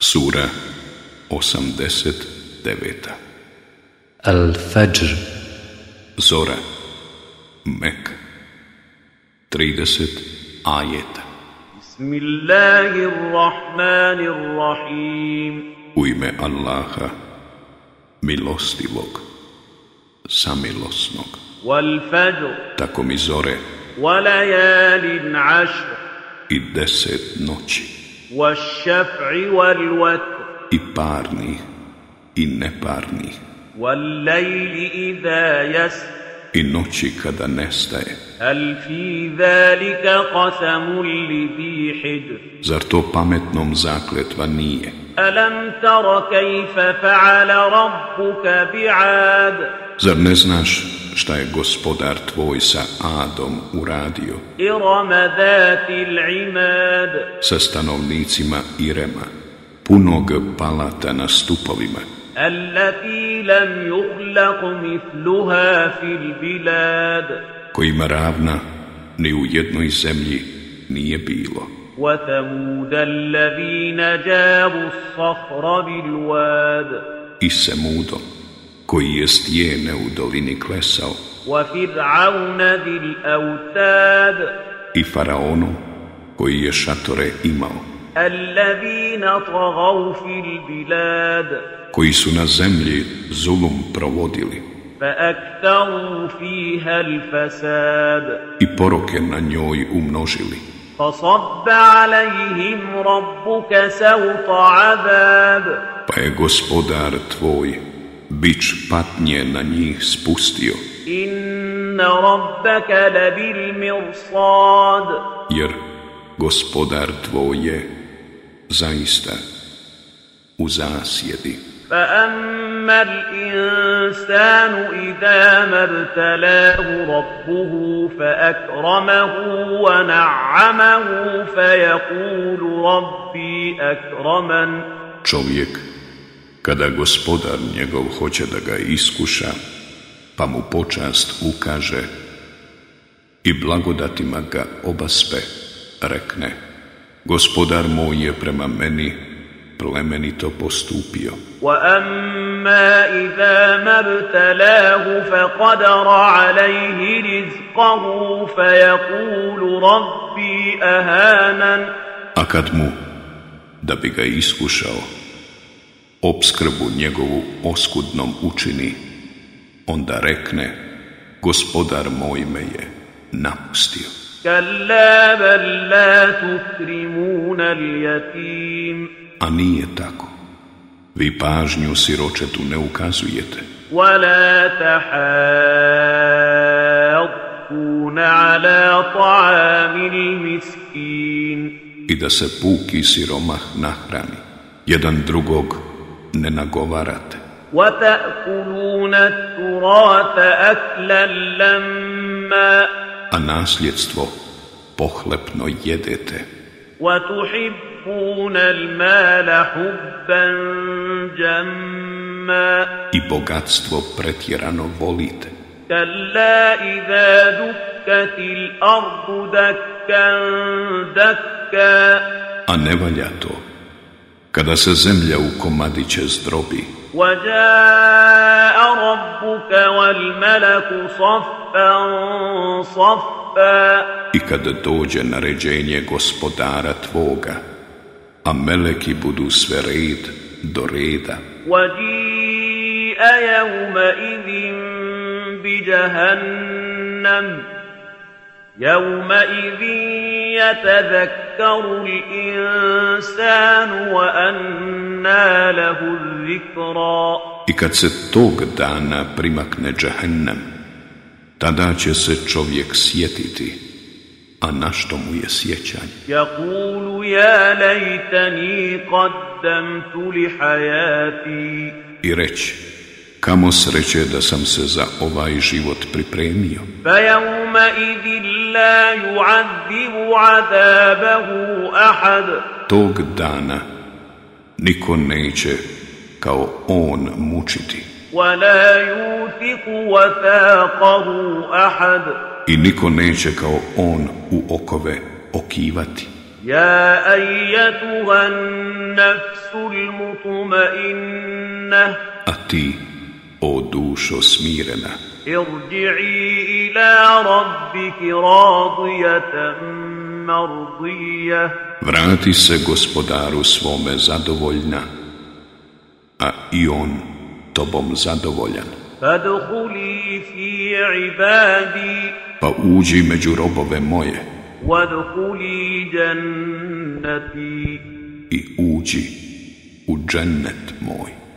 Sura 89. الفجر Zora Mek 30 ajeta بسم الله الرحمن الرحيم U ime Allaha Milostivog Samilosnog والفجر Tako mi zore وليال عشر i deset noći والشفع والوتر I parnih i neparnih والليل إذا يسر I noći kada nestaje هل في ذلك قسم لذي حجر Zar to pametnom zakletva nije? ألم تر كيف فعل ربك بعاد Zar ne znaš šta je gospodar tvoj sa Adom uradio? إرم ذات العماد sa stanovnicima Irema, punog palata na stupovima, التي لم يخلق مثلها في البلاد kojima ravna ni u jednoj zemlji nije bilo, وثمود الذين جابوا الصخر بالواد i Semudom, koji je stijene u dolini klesao, وفرعون ذي الأوتاد i Faraonom, koji je šatore imao, الذين طغوا في البلاد koji su na zemlji zulum provodili فأكثروا فيها الفساد i poroke na njoj umnožili, فصب عليهم ربك سوط عذاب pa je gospodar tvoj bić patnje na njih spustio, إن ربك لبالمرصاد jer gospodar tvoj je zaista u zasjedi. فأما الإنسان إذا ما ابتلاه ربه فأكرمه ونعمه فيقول ربي أكرمن Čovjek, kada gospodar njegov hoće da ga iskuša, pa mu počast ukaže i blagodatima ga obaspe, rekne, gospodar moj je prema meni plemenito postupio, وأما إذا ما ابتلاه فقدر عليه رزقه فيقول ربي أهانن a kad mu, da bi ga iskušao, obskrbu njegovu oskudnom učini, onda rekne, gospodar moj me je napustio. كلا بل لا تكرمون اليتيم A nije tako. Vi pažnju siročetu ne ukazujete, ولا تحاضون على طعام المسكين i da se puki siromah nahrani. Jedan drugog ne nagovarate, وتأكلون التراث أكلا لما a nasljedstvo pohlepno jedete, وتحبون المال حبا جما i bogatstvo pretjerano volite. كلا إذا دكت الأرض دكا دكا A ne valja to. Kada se zemlja u komadiće zdrobi, وجاء ربك والملك صفا صفا i kad dođe naređenje gospodara tvoga, a meleki budu sve red do reda, وجيء يومئذ بجهنم يومئذ يتذكر الإنسان وأنى له الذكرى I kad se tog dana primakne džahennem, tada će se čovjek sjetiti, a na što mu je sjećanje? يقول يا ليتني قدمت لحياتي I reći, kamo sreće da sam se za ovaj život pripremio, فيومئذ لا يعذب عذابه أحد tog dana niko neće kao on mučiti ولا يوثق وثاقه أحد i niko neće kao on u okove okivati. يا أيتها النفس المطمئنة a ti, o dušo smirena, ارجعي إلى ربك راضية مرضية vrati se gospodaru svome zadovoljna, a i on tobom zadovoljan. فادخلي في عبادي Pa uđi među robove moje وادخلي جنتي i uđi u džennet moj.